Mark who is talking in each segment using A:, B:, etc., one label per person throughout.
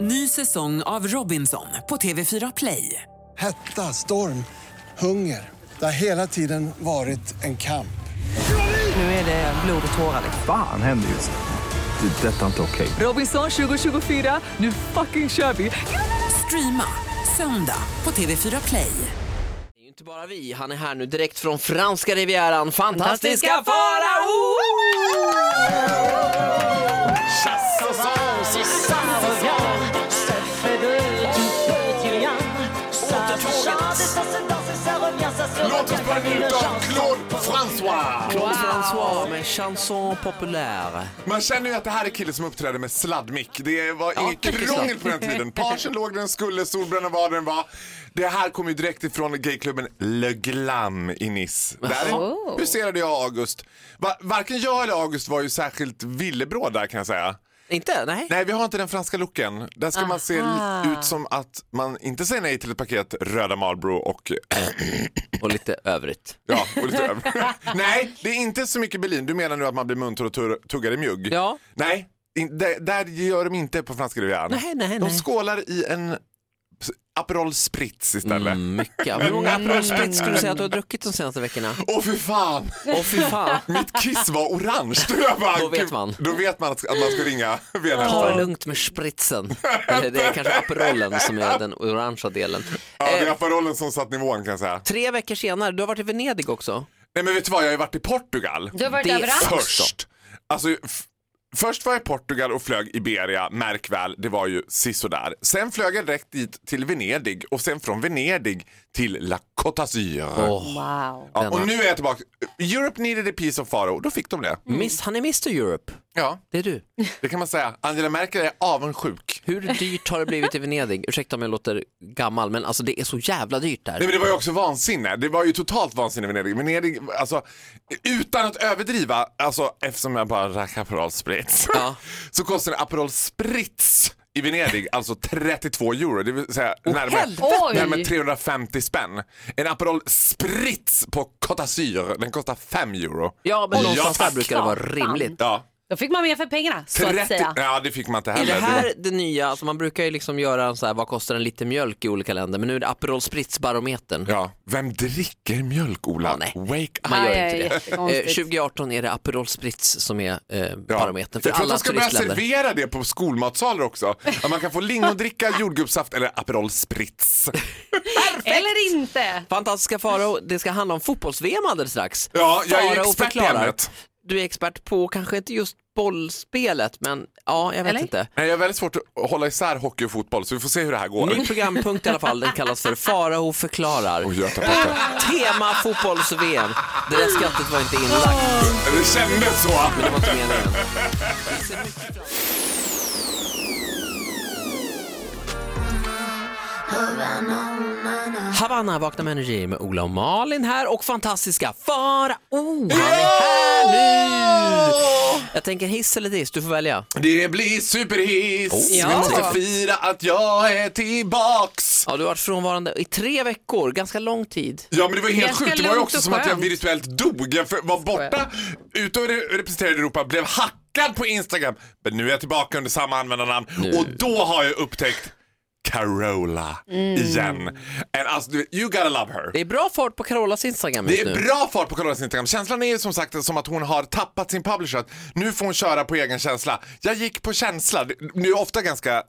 A: Ny säsong av Robinson på TV4 Play.
B: Hetta, storm, hunger. Det har hela tiden varit en kamp.
A: Nu är det blod och tårar. liksom.
C: Fan händer just nu. Det. är Detta är inte okej.
A: Robinson 2024, nu fucking kör vi! Streama söndag på TV4 Play.
D: Det är ju inte bara vi, han är här nu direkt från franska rivieran, fantastiska,
A: Fantastiska
D: farao!
E: Låt oss bara njuta av Claude François!
D: Claude François med chanson populaire.
E: Man känner ju att det här är killen som uppträder med sladdmick. Det var
D: Ja,
E: inget
D: mycket
E: krångel
D: sladd.
E: på den tiden. Parsen låg där den skulle, solbrännan var där den var. Det här kom ju direkt ifrån gayklubben Le Glam i Nice. Där huserade jag och August. Va- varken jag eller August var ju särskilt villebråd där kan jag säga.
D: Inte? Nej.
E: Nej, vi har inte den franska looken. Där ska man se l- ut som att man inte säger nej till ett paket röda Marlboro och
D: Och lite övrigt.
E: Ja, och lite över. Nej, det är inte så mycket Berlin. Du menar nu att man blir munter och tur- tuggar i mjugg?
D: Ja.
E: Nej, in, där, där gör de inte på franska rivieran.
D: Nej, nej,
E: De
D: nej.
E: skålar i en s- Aperol Spritz istället.
D: Mm, mycket. Hur många Aperol Spritz skulle du säga att du har druckit de senaste veckorna?
E: Åh för fan!
D: Åh fy fan.
E: Mitt kiss var orange. Då, jag bara,
D: Då vet
E: gud,
D: man.
E: Då vet man att, att man ska ringa
D: Ta det
E: venhästen.
D: lugnt med spritsen. Eller det är kanske Aperolen som är den orangea delen.
E: Ja, det är
D: Eh,
E: Aperolen som satt nivån kan jag säga.
D: tre veckor senare, du har varit i Venedig också.
E: Nej men vet du vad, jag har ju varit i Portugal.
F: Du har varit
D: Det-
F: överallt.
E: Först. Alltså, f- först var jag i Portugal och flög Iberia, märk väl, det var ju sisådär. Sen flög jag direkt dit till Venedig och sen från Venedig till La Côte d'Azur.
F: Wow.
E: ja, och nu är jag tillbaka. Europe needed a piece of faro, då fick de det.
D: Miss, han är Mr Europe.
E: Ja,
D: Det är du.
E: det kan man säga. Angela Merkel är avundsjuk.
D: Hur dyrt har det blivit i Venedig? Ursäkta om jag låter gammal, men alltså det är så jävla dyrt där.
E: Nej, men det var ju också vansinne. Det var ju totalt vansinne i Venedig. Venedig, alltså, utan att överdriva, alltså, eftersom jag bara drack Aperol Spritz,
D: Ja.
E: så kostar en Aperol Spritz i Venedig alltså 32 euro, det vill säga närmare,
F: helvete!
E: närmare
F: Oj!
E: 350 spänn. En Aperol Spritz på Côte d'Azur, den kostar 5 euro.
D: Ja, men
E: Ja,
D: någonstans där
E: tack.
D: brukar det vara rimligt.
E: Ja,
F: Då fick man mer för pengarna, så att
E: 30,
F: säga.
E: ja det fick man inte
D: Är det
E: heller.
D: här det nya, alltså man brukar ju liksom göra en så här, vad kostar en liter mjölk i olika länder, men nu är det Aperol Spritz-barometern.
E: Ja. Vem dricker mjölk, Ola?
D: Ja, nej.
E: Wake up!
D: Man gör
F: Aj,
D: inte
F: aj,
D: det. Eh,
F: jättekonstigt.
D: 2018 är det Aperol Spritz som är eh, barometern för
E: jag tror
D: alla
E: att de ska börja
D: turistländer.
E: servera det på skolmatsaler också. Att man kan få lingondricka, jordgubbssaft eller Aperol Spritz.
F: Eller inte.
D: Fantastiska Farao, det ska handla om fotbolls-VM alldeles strax.
E: Ja, jag är ju
D: Farao
E: expert i
D: förklarar.
E: ämnet.
D: Du är expert på, kanske inte just bollspelet, men ja, jag vet
F: Eller?
D: inte.
E: Nej, jag är väldigt svårt att hålla isär hockey och fotboll så vi får se hur det här går.
D: Ny programpunkt i alla fall, den kallas för Farao förklarar.
E: Oj, jag tar bort det.
D: Tema fotbolls-VM. Det där skrattet var inte inlagt.
E: Det kändes så.
D: Det var inte meningen. Havanna vaknar med energi med Ola och Malin här och fantastiska Farao. Oh, han är här nu! Jag tänker hiss eller diss, du får välja.
E: Det blir superhiss.
D: Ja.
E: Vi måste fira att jag är tillbaks.
D: Ja, du har varit frånvarande i tre veckor, ganska lång tid.
E: Ja men det var ju helt
F: Ganska
E: sjukt, det var ju
F: lugnt
E: också
F: och
E: som att jag
F: skönt.
E: virtuellt dog. Jag för- var borta, ute och re- representerade Europa, blev hackad på Instagram. Men nu är jag tillbaka under samma användarnamn och då har jag upptäckt Carola
F: Mm.
E: igen. And alltså, du vet, you gotta love her.
D: Det är bra fart på Carolas Instagram
E: Det
D: just
E: är
D: nu.
E: bra fart på Carolas Instagram. Känslan är ju som sagt som att hon har tappat sin publisher. Att Nu får hon köra på egen känsla. Jag gick på känsla. Det- Nu är ofta ganska,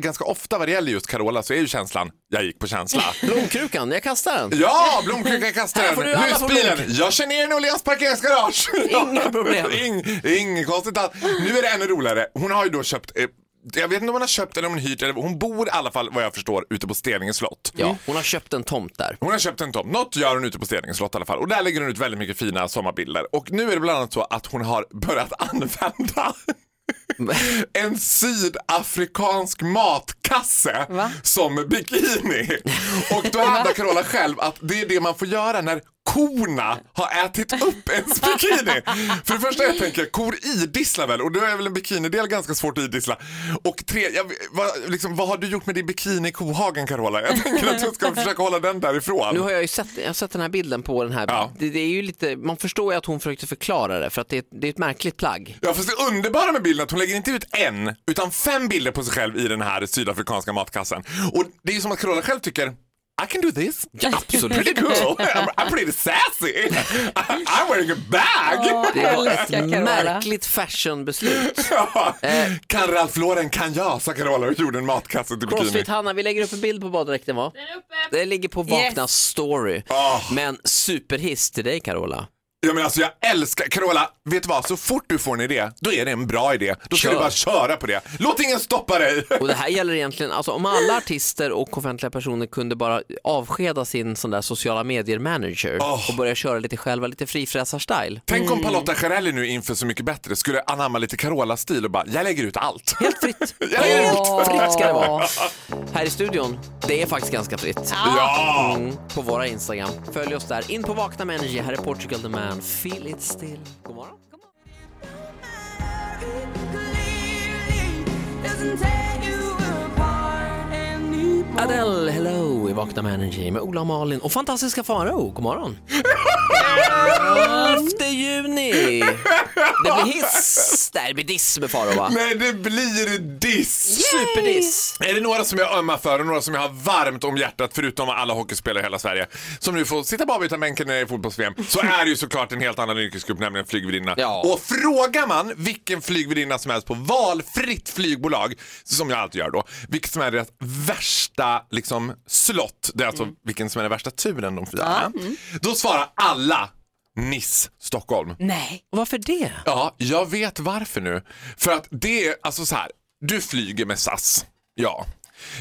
E: ganska ofta vad det gäller just Carola så är ju känslan, jag gick på känsla.
D: Blomkrukan, jag kastar den.
E: Ja, blomkrukan-kastaren,
D: Här får du alla få
E: husbilen.
D: blomk.
E: Jag känner igen Åhléns parkeringsgarage.
D: Inga problem.
E: Ing, inget konstigt alls. Nu är det ännu roligare. Hon har ju då köpt, eh, jag vet inte om hon har köpt eller om hon hyrt, eller hon bor i alla fall vad jag förstår ute på Steninge slott.
D: Ja, hon har köpt en tomt där.
E: Hon har köpt en tomt. Något gör hon ute på Steninge slott i alla fall. Och där lägger hon ut väldigt mycket fina sommarbilder. Och nu är det bland annat så att hon har börjat använda en sydafrikansk matkasse som bikini. Och då hävdar Carola själv att det är det man får göra när korna har ätit upp ens bikini. För det första jag tänker, kor idisslar väl? Och då är väl en bikinidel ganska svårt att idissla. Och tre, jag, vad, liksom, vad har du gjort med din bikini i kohagen Carola? Jag tänker att du ska försöka hålla den därifrån.
D: Nu har jag ju sett, jag har sett den här bilden på den här.
E: Ja.
D: Det, det är ju lite, man förstår ju att hon föökte förklara det för att det är, det är ett märkligt plagg.
E: Ja fast det underbara med bilden är att hon lägger inte ut en, utan fem bilder på sig själv i den här sydafrikanska matkassen. Och det är som att Carola själv tycker I can do this. Absolutely pretty cool. I'm, I'm pretty sassy. I, I'm wearing a bag.
D: Det var ett
F: Älskar Carola.
D: märkligt fashionbeslut.
E: Ja. Kan Ralph Lauren, kan jag, sa Carola och gjorde en matkasse till bikini.
D: Crossfit-Hanna, vi lägger upp en bild på baddräkten va? Det ligger på Vakna story. Men superhiss till dig Carola.
E: Ja, men alltså, jag älskar, Carola, vet du vad? Så fort du får en idé, då är det en bra idé. Då ska
D: Kör. Mm.
E: du bara köra på det. Låt ingen stoppa dig.
D: Och det här gäller egentligen, alltså om alla artister och offentliga personer kunde bara avskeda sin sån där sociala medier-manager
E: Åh.
D: och börja köra lite själva, lite frifräsar-style.
E: Tänk om Palotta Jarelli nu inför Så mycket bättre skulle anamma lite Carola-stil och bara, jag lägger ut allt.
D: Helt fritt.
E: Jag lägger ut.
D: Helt fritt ska det vara. Här i studion, det är faktiskt ganska fritt.
E: Ja!
D: Mm, på våra Instagram. Följ oss där. In på Vakna med Energy. Här är Portugal the Man. Feel it still. God morgon. Adele, hello i Vakna med Energy med Ola och Malin och fantastiska Farao. God morgon. 11 juni. Det blir hiss. Det här blir diss med Farao va?
E: Nej, det blir diss.
D: Superdiss.
E: Är det några som jag ömmar för och några som jag har varmt om hjärtat förutom alla hockeyspelare i hela Sverige som nu får sitta på avbytarbänken när det är fotbolls-VM så är det ju såklart en helt annan yrkesgrupp, nämligen flygvärdinnorna.
D: Ja.
E: Och frågar man vilken flygvärdinna som helst på valfritt flygbolag, som jag alltid gör då, vilket som är deras värsta liksom, slott, det är alltså vilken som är den värsta turen de firar, då svarar alla Niss Stockholm.
F: Nej.
D: Varför det?
E: Ja, jag vet varför nu. För att det är alltså så här. Du flyger med SAS. Ja.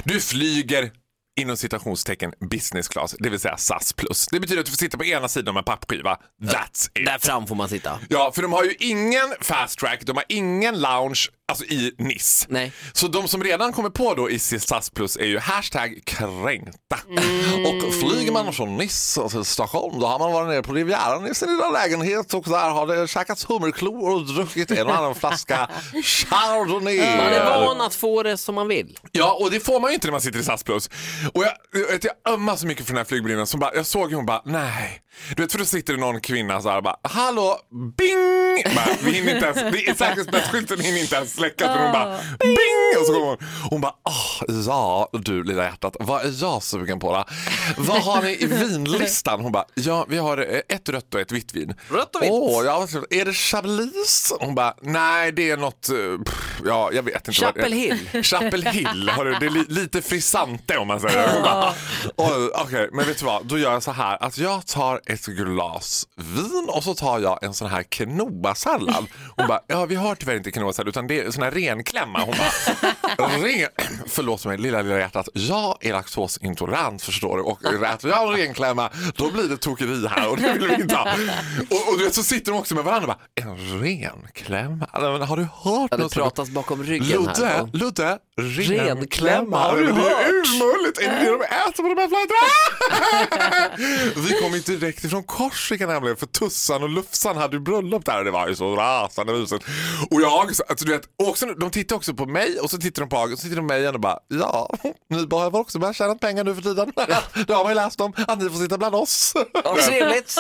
E: Du flyger inom citationstecken business class, det vill säga SAS plus. Det betyder att du får sitta på ena sidan om en pappskiva. That's it.
D: Där fram får man sitta.
E: Ja, för de har ju ingen fast track, de har ingen lounge alltså i Nice.
D: Nej.
E: Så de som redan kommer på då i sitt SAS plus är ju hashtag kränkta. Och flyger man från Nice till Stockholm då har man varit nere på Rivieran i sin lilla lägenhet och där har det käkats hummerklor och druckit en och annan flaska Chardonnay.
D: Man är van att få det som man vill.
E: Ja, och det får man ju inte när man sitter i SAS Plus. Och jag, jag, vet, jag ömmar så mycket för den här flygvärdinnan som bara, jag såg ju hon bara, nej. Du vet, för då sitter det någon kvinna så här och bara, hallå, bing! Bara, vi hinner inte ens, det är säkerhetsbältsskylten hinner inte ens släckas. Men hon bara, bing! Och så kommer hon. Hon bara, ah, ja, du lilla hjärtat, vad är jag sugen på då? Vad har ni i vinlistan? Hon bara, ja, vi har eh, ett rött och ett vitt vin.
D: Rött och vitt.
E: Åh, ja, vad trevligt. är det Chablis? Hon bara, nej, det är något, eh, pff, ja, jag vet inte. vad det är."
D: Chapel Hill.
E: Chapel Hill, har du, det är li, lite frisante om man säger det. Hon bara, "Oj, Okej, men vet du vad, då gör jag så här att jag tar ett glas vin och så tar jag en sån här quinoa-sallad. Hon bara, ja vi har tyvärr inte quinoa-sallad utan det är sån här renklämma. Hon bara, ren, förlåt mig lilla lilla hjärtat, jag är laktosintolerant förstår du och äter jag renklämma då blir det tokeri här och det vill vi inte ha. Och, och du vet, så sitter de också med varandra och bara, en renklämma, Nej, men har du hört
D: Ja, det
E: något sånt?"
D: pratas bakom ryggen här.
E: Ludde, Ludde,
D: Renklämma,
E: renklämma.
D: har du
E: det
D: hört?
E: är urmulligt. Är det det de äter på de här flighterna? Vi kom ju direkt ifrån Korsika nämligen för Tussan och Lufsan hade ju bröllop där och det var ju så rasande mysigt. Och jag, så- alltså, du vet, och också, de tittar också på mig och så tittar de på August och så tittar de på mig igen och bara ja, ni behöver också börja tjäna pengar nu för tiden. Det har man ju läst om, att ni får sitta bland oss.
D: Ja, trevligt.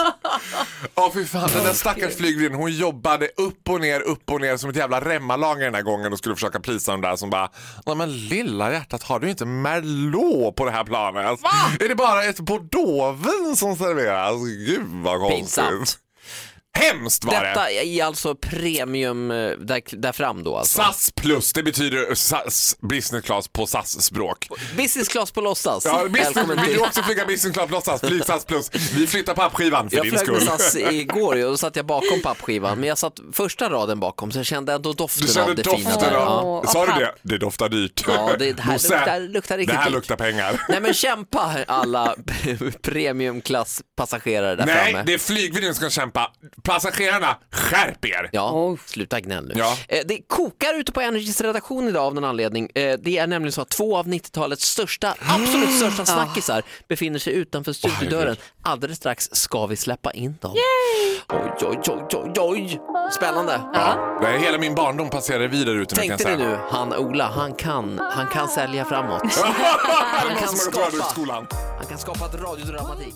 E: Ja fy fan, den där stackars flygvärdinnan hon jobbade upp och ner, upp och ner som ett jävla remmarlager den här gången och skulle försöka prisa de där som bara Nej men lilla hjärtat har du inte Merlot på det här planet? Är det bara ett bordeauxvin som serveras? Gud vad konstigt.
D: Pinsamt.
E: Hemskt var det!
D: Detta är alltså premium eh, där, där fram då alltså.
E: SAS plus, det betyder SAS business class på SAS-språk.
D: Business class på låtsas.
E: Ja, business,
D: Välkommen
E: vill
D: till.
E: du också flyga business class på SAS? Flyg SAS plus. Vi flyttar pappskivan för
D: Jag
E: din
D: flög
E: skull.
D: med SAS igår ju och då satt jag bakom pappskivan men jag satt första raden bakom så jag kände ändå doften
E: Du kände
D: av det fina
E: doften
D: där.
E: av...
D: Ja.
F: Ja.
E: Sa du
F: Av
E: det? Det doftar dyrt.
D: Ja, det- det här
E: Bosse,
D: luktar- luktar riktigt
E: Det här
D: dyrt.
E: luktar pengar.
D: Nej men kämpa alla premiumklasspassagerare där
E: Nej,
D: framme.
E: det är flygvärdinnor som ska kämpa. Passagerarna, skärp er!
D: Ja,
F: Oh.
D: sluta gnäll nu.
E: Ja.
D: Eh, Det kokar ute på Energys redaktion idag av någon anledning. Eh, Det är nämligen så att två av 90-talets största, absolut största snackisar befinner sig utanför studiodörren. Alldeles strax ska vi släppa in dem. Oj, oj, oj, oj, oj. Spännande.
E: Ja. det är Hela min barndom passerade vidare ute nu kan jag
D: Tänkte ni
E: säga.
D: nu, han Ola, han kan, han kan sälja framåt.
E: det är
D: kan
E: någon som har gått
D: skapa.
E: radiot i skolan.
D: Han kan skapa ett radiodramatik.